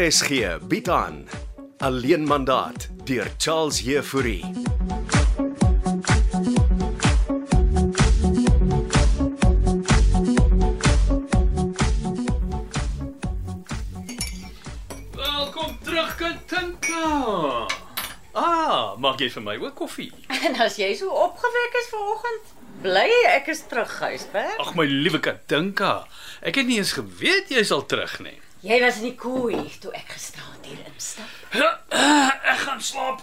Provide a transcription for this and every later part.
RSG bied aan Alleen mandaat deur Charles Heffouri. Welkom terug Katinka. Ah, maak jy vir my ook koffie? En as jy so opgewek is vanoggend, bly ek is terug huis, hè? Ag my liewe Katinka, ek het nie eens geweet jy's al terug nie. Jy was in die koei toe ek gisterand hier instap. Ek gaan slaap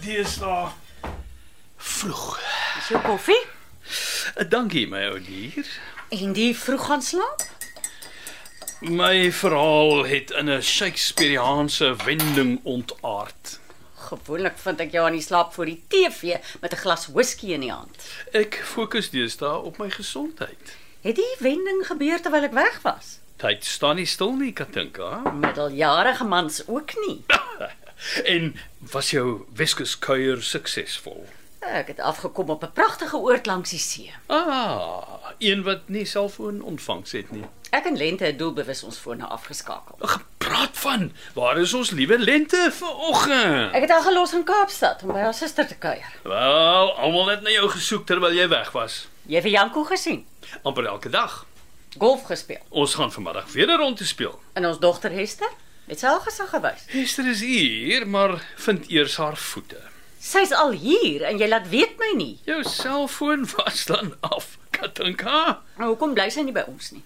deesdae vroeg. Eh, Is jou koffie? Dankie my ou dier. En die vroeg gaan slaap? My verhaal het in 'n Shakespeareaanse wending ontaard. Gewoonlik vind ek jou aan die slaap voor die TV met 'n glas whisky in die hand. Ek fokus deesdae op my gesondheid. Het die wending gebeur terwyl ek weg was? Tyd staan nie stil nie, Katinka. Middeljarige mans ook nie. En was jou Weskus kuier suksesvol? Ek het afgekom op 'n pragtige oord langs die see. Ah, een wat nie selfoon ontvangs het nie. Ek en Lente het doelbewus ons fone afgeskakel. Gepraat van, waar is ons liewe lente vanoggend? Ek het haar gelos in Kaapstad om by haar suster te kuier. Wel, almal het na jou gesoek terwyl jy weg was. Jy het vir Janko gesien, amper elke dag. golf gespeel. Ons gaan vanmiddag weer 'n rondte speel. En ons dogter Hester het sy al gesig gewys. Hester is hier, maar vind eers haar voete. Sy's al hier en jy laat weet my nie. Jou selfoon was dan af. Katinka, Nou hoekom bly sy nie by ons nie?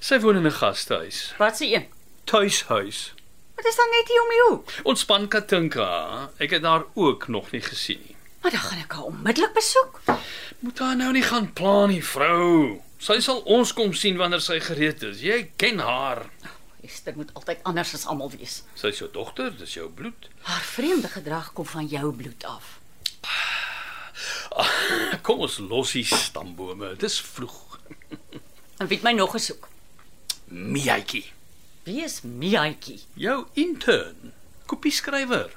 sy woon in 'n gastehuis, Wat se een? tuishuis. Wat is dan net hier om jou? Ontspan Katinka, ek het haar ook nog nie gesien nie. Maar dan gaan ek haar onmiddellik besoek. Moet haar nou nie gaan pla nie, vrou. Sy sal ons kom sien wanneer sy gereed is. Jy ken haar. Esther moet altyd anders as almal wees. Sy's jou dogter, dis jou bloed. Haar vreemde gedrag kom van jou bloed af. Kom ons los die stambome. Dis vroeg. En weet my nog gesoek. Mietjie, Wie is Miaatjie? jou intern, kopieskrywer.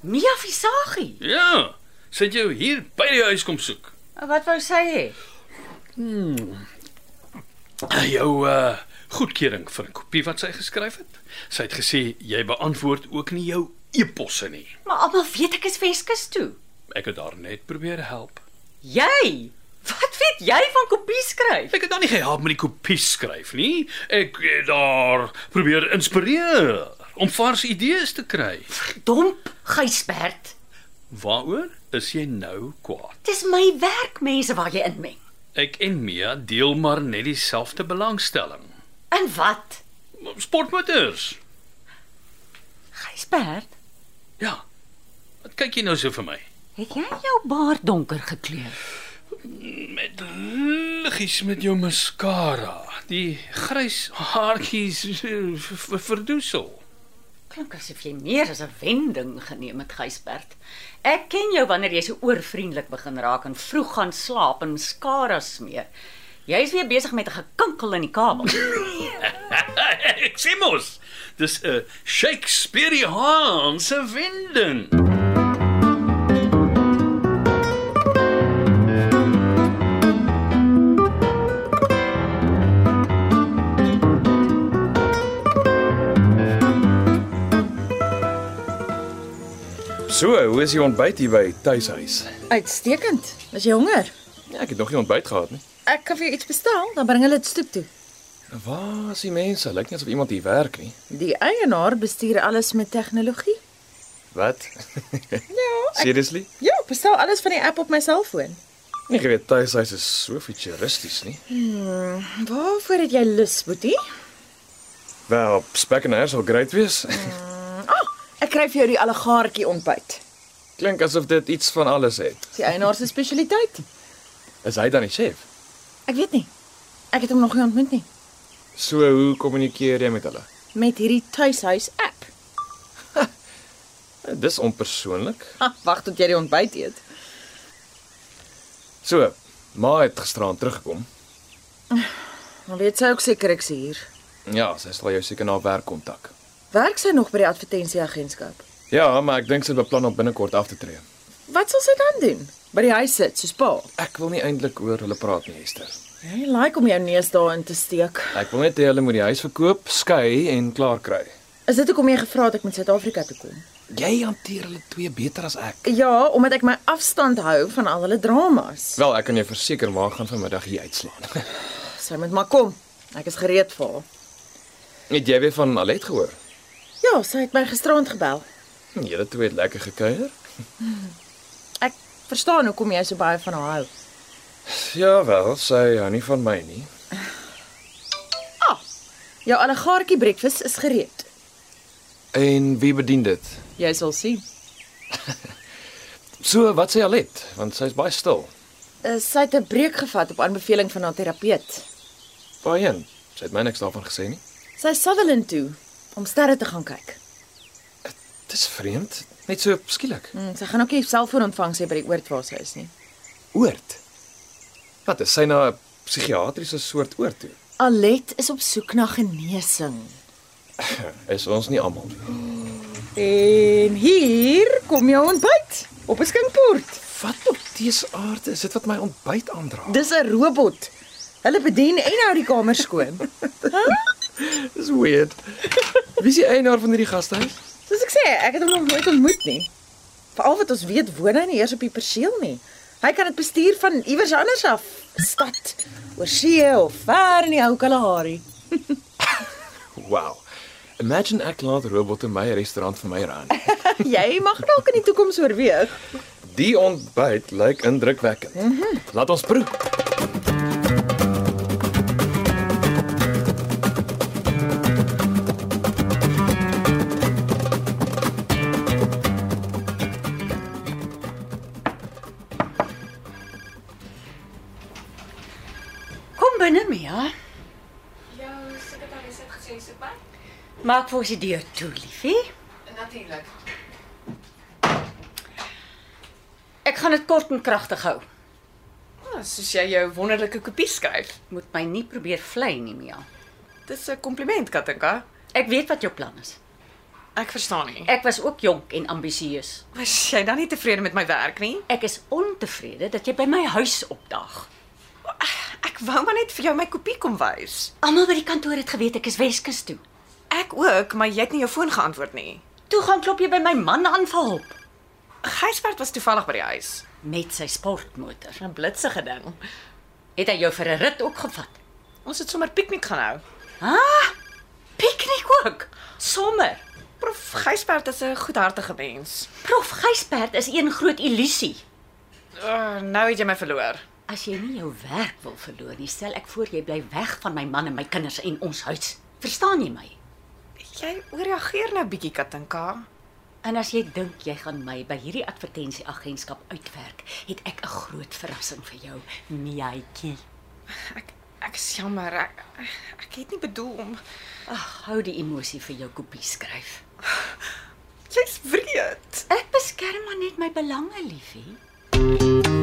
Mia Visagie. Ja, sy het jou hier by die huis kom soek. En Wat wou sy hê? Jou uh goedkeuring vir 'n kopie wat sy geskryf het. Sy het gesê jy beantwoord ook nie jou e-posse nie. Maar almal weet ek is Weskus toe. Ek het haar net probeer help. Jy. Wat weet jy van kopie skryf? Ek het dan nie gehelp met die kopie skryf nie. Ek het daar probeer inspireer om vars idees te kry. Domp, Gysbert. Waaroor is jy nou kwaad? Dis my werk mense waar jy inmeng. Ek en Mia deel maar net dieselfde belangstelling. En wat? Sportmotors. Gysbert. Ja. Wat kyk jy nou so vir my? Het jy jou baard donker gekleur? Met liggies met jou mascara. Die grys haartjies eh, ver- verdoesel. Klink asof jy meer as 'n wending geneem het, Gysbert. Ek ken jou wanneer jy so oorvriendelik begin raak en vroeg gaan slaap en mascara smeer. Jy's weer besig met 'n gekinkel in die kabel. Ek sê mos, dis 'n Shakespeareaanse wending. So, hoe is die ontbyt hier by tuishuis? Uitstekend. Is jy honger? Ja, ek het nog nie ontbyt gehad nie. Ek kan vir jou iets bestel, dan bring hulle dit stoep toe. Waar is die mense? Lyk nie asof iemand hier werk nie. Die eienaar bestuur alles met tegnologie. Wat? Ja, Seriously? ja, bestel alles van die app op my selfoon. Nie geweet tuishuis is so futuristies nie. Waarvoor het jy lus, Boetie? Wel, spek en eiers sal great wees. Ah, Ek kry vir jou die allegaartjie ontbyt. Klink asof dit iets van alles het. Dis die eienaar se spesialiteit. Is hy dan die chef? Ek weet nie. Ek het hom nog nie ontmoet nie So, hoe kommunikeer jy met hulle? met hierdie tuishuis app. Eh, Dis onpersoonlik. Ha, wag tot jy die ontbyt eet. So, ma het gisteraan teruggekom. Dan weet sy ook seker ek se hier. Ja, sy sal jou seker na werk kontak. Werk sy nog by die advertensieagentskap? Ja, maar ek dink sy beplan om binnekort af te tree. Wat sal sy dan doen? By die huis sit soos pa. Ek wil nie eintlik oor hulle praat nie, Esther. Hy like om jou neus daarin te steek. Ek wil net hê hulle moet die huis verkoop, skei en klaar kry. Is dit hoekom jy gevra het ek moet Suid-Afrika toe kom? Jy hanteer hulle twee beter as ek. Ja, omdat ek my afstand hou van al hulle dramas. Wel, ek kan jou verseker maar gaan vanmiddag hier uitslaan. Sy moet maar kom. Ek is gereed vir haar. het jy weer van Alet gehoor? Ja, sy het my gisteraand gebel. Hm, Julle twee het lekker gekuier? Ek verstaan hoekom jy so baie van haar hou. Ja wel, sy hou nie van my nie. Jou allegaartjie breakfast is gereed. En wie bedien dit? Jy sal sien. So, wat sê Alet? Want sy's baie stil. Uh, Sy het 'n breek gevat op aanbeveling van haar terapeut. Waarheen? Sy het my niks daarvan gesê nie. Sy is Sutherland toe om sterre te gaan kyk. Dis vreemd, net so skielik. Mm, sy gaan ook nie selfoon ontvang sy by die oord waar sy is nie. Oord. Wat is sy na 'n psigiatriese soort oord toe? Alet is op soek na genesing. Is ons nie almal nie. En hier kom jou ontbyt op 'n skinkbord. Wat op dese aarde is dit wat my ontbyt aandra? Dis 'n robot. Hulle bedien en hou die kamer skoon. Dis weird. Wie is die eienaar van hierdie gastehuis? Soos ek sê, ek het hom nog nooit ontmoet nie. Veral wat ons weet woon hy nie eers op die perseel nie. Hy kan dit bestuur van iewers anders af, stad, oor see of ver in die ou Kalahari. Wow. Imagine ek laat robotte my restaurant vir my ran. Jy mag dalk in die toekoms oorweeg. Die ontbyt lyk indrukwekkend. Mm -hmm. Laat ons proe. Kom binne, Mia. Jou sekretaris het gesê soek my? Maak vir ons die deur toe, liefie. Natuurlik. Ek gaan dit kort en kragtig hou. Oh, soos jy jou wonderlike kopie skryf. Moet my nie probeer vlei nie, Mia. Dis 'n kompliment, Katinka. Ek weet wat jou plan is. Ek verstaan nie. Ek was ook jonk en ambisieus. Was jy dan nie tevrede met my werk nie? Ek is ontevrede dat jy by my huis opdaag. Ek wou maar net vir jou my kopie kom wys. Almal by die kantoor het geweet ek is Weskus toe. Ek ook, maar jy het nie jou foon geantwoord nie. Toe gaan klop jy by my man aan vir hulp Gysbert was toevallig by die huis. met sy sportmotor. 'n Blitsige ding. Het hy jou vir 'n rit ook gevat? Ons het sommer piknik gaan hou. Piknik ook. Sommer. Prof Gysbert is 'n goedhartige mens. Prof Gysbert is een groot illusie. Uh, nou het jy my verloor. As jy nie jou werk wil verloor nie, stel ek voor jy bly weg van my man en my kinders en ons huis. Verstaan jy my? Jy ooreageer nou bietjie, Katinka. En as jy dink jy gaan my by hierdie advertensieagentskap uitwerk, het ek 'n groot verrassing vir jou, Miaitjie. Ek ek is jammer. Ek, ek het nie bedoel om Ag, hou die emosie vir jou kopie skryf. Jy's wreed. Ek beskerm maar net my belange, liefie.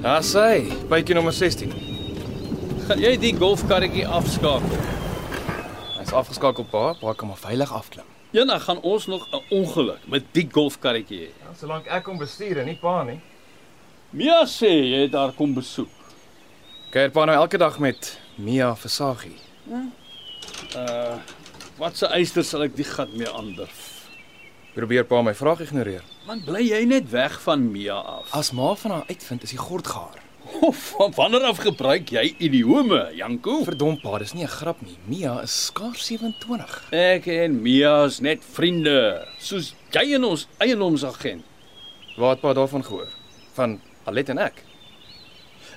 Ja, Daar sy, bytjie nommer 16. Gaan jy die golfkarretjie afskakel? Hy's afgeskakel pa, pa kan maar veilig afklim. Eendag Ja, gaan ons nog 'n ongeluk met die golfkarretjie hê. Ja, solank ek hom bestuur en nie pa nie. Mia sê jy het haar kom besoek. Kyk pa nou elke dag met Mia Versagie. Wat se eyster sal ek die gat mee aandurf? Probeer pa my vraag ignoreer. Want bly jy net weg van Mia af. As ma van haar uitvind is hy gordgaar. Of van wanneer af gebruik jy idiome, Janko? Verdomp pa, dis nie 'n grap nie. Mia is skaars 27. Ek en Mia is net vriende, soos jy en ons eienaarsagent. Waar het pa daarvan gehoor? Van Alet en ek.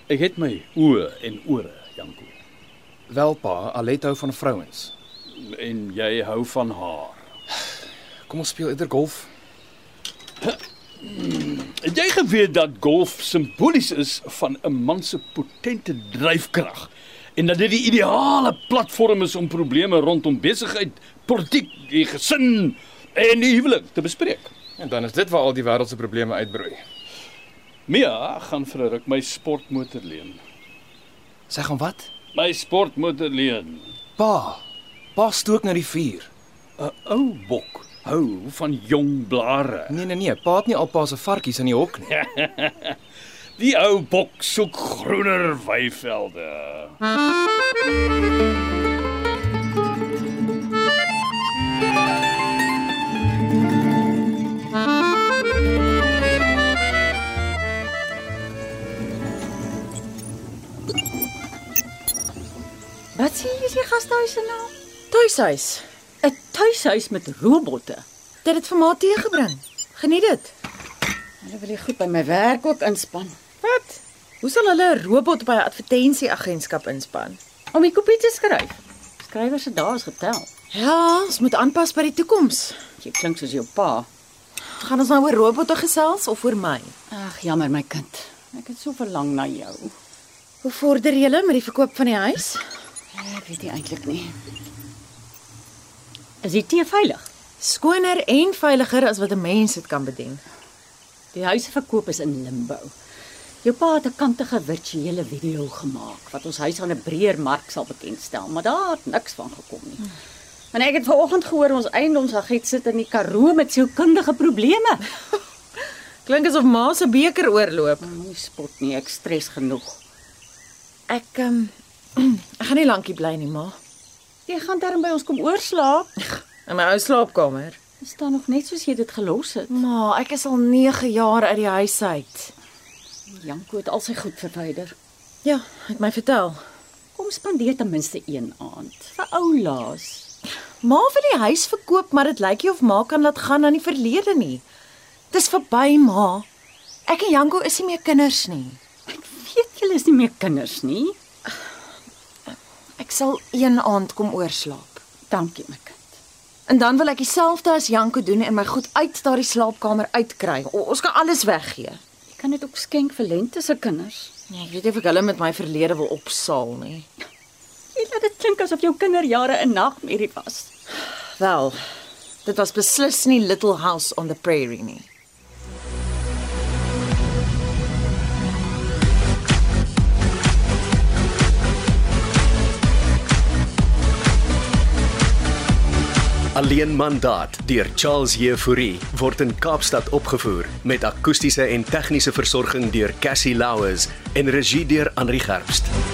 Ek het my oë en ore, Janko. Wel pa, Alet hou van vrouens. En jy hou van haar. Kom ons speel eerder golf. Het jy geweet dat golf simbolies is van 'n man se potente dryfkrag en dat dit die ideale platform is om probleme rondom besigheid, politiek, die gesin en die huwelik te bespreek? En dan is dit waar al die wêreld se probleme uitbroei. Mia gaan vir 'n ruk my sportmotor leen. Sy gaan wat? My sportmotor leen. Pa, pa stook nou die vuur. 'n Ou bok hou van jong blare. Nee nee nee, pa het nie alpa se varkies in die hok nie. Die ou bok soek groener weivelde. Wat sê jy is die gastehuis se naam? nou? Tuishuis. 'n Tuishuis met robotte. Dit het vir ma tee gebring. Geniet dit. Hulle wil die goed by my werk ook inspan Wat? Hoe sal hulle 'n robot by 'n advertensieagentskap inspan? om die kopie te skryf. Skrywer se dae is getel. Ja, ons moet aanpas by die toekoms. Jy klink soos jou pa. Gaan ons nou oor robotte gesels of oor my? Ag, jammer my kind. Ek het so verlang na jou. Hoe vorder julle met die verkoop van die huis? Ek weet nie eintlik nie. Is die tee veilig? Skoner en veiliger as wat 'n mens dit kan bedien. Die huis se verkoop is in limbo. Jou pa het 'n kantige virtuele video gemaak wat ons huis aan 'n breër mark sal bekendstel, maar daar het niks van gekom nie. En ek het vanoggend gehoor ons eiendomsagent sit in die Karoo met sielkundige probleme. Klink asof ma se beker oorloop. Moenie spot nie, ek stres genoeg. Ek ehm ek gaan nie lankie bly nie, ma. Jy gaan darm by ons kom oorslaap. In my ou slaapkamer. Dit staan nog net soos jy dit gelos het. Ma, ek is al 9 jaar uit die huis uit. Janko het al sy goed verwyder. Ja, het my vertel. Kom spandeer ten minste een aand vir ou Laas. Ma wil die huis verkoop, maar dit lyk nie of ma kan laat gaan aan die verlede nie. Dis verby, ma. Ek en Janko is nie meer kinders nie. Ek weet julle is nie meer kinders nie. Ek sal een aand kom oorslaap. Dankie my kind. En dan wil ek dieselfde as Janko doen en my goed uit daardie slaapkamer uitkry. O, ons kan alles weggee. Jy kan dit ook skenk vir lente se kinders. Nee, ek weet nie of ek hulle met my verlede wil opsaal nie. Jy laat dit klink asof jou kinderjare 'n nagmerrie was. Wel, dit was beslis nie Little House on the Prairie nie. Alleen mandaat deur Charles Jefouri word in Kaapstad opgevoer met akoestiese en tegniese versorging deur Cassie Louws en regie deur Henri Gerst.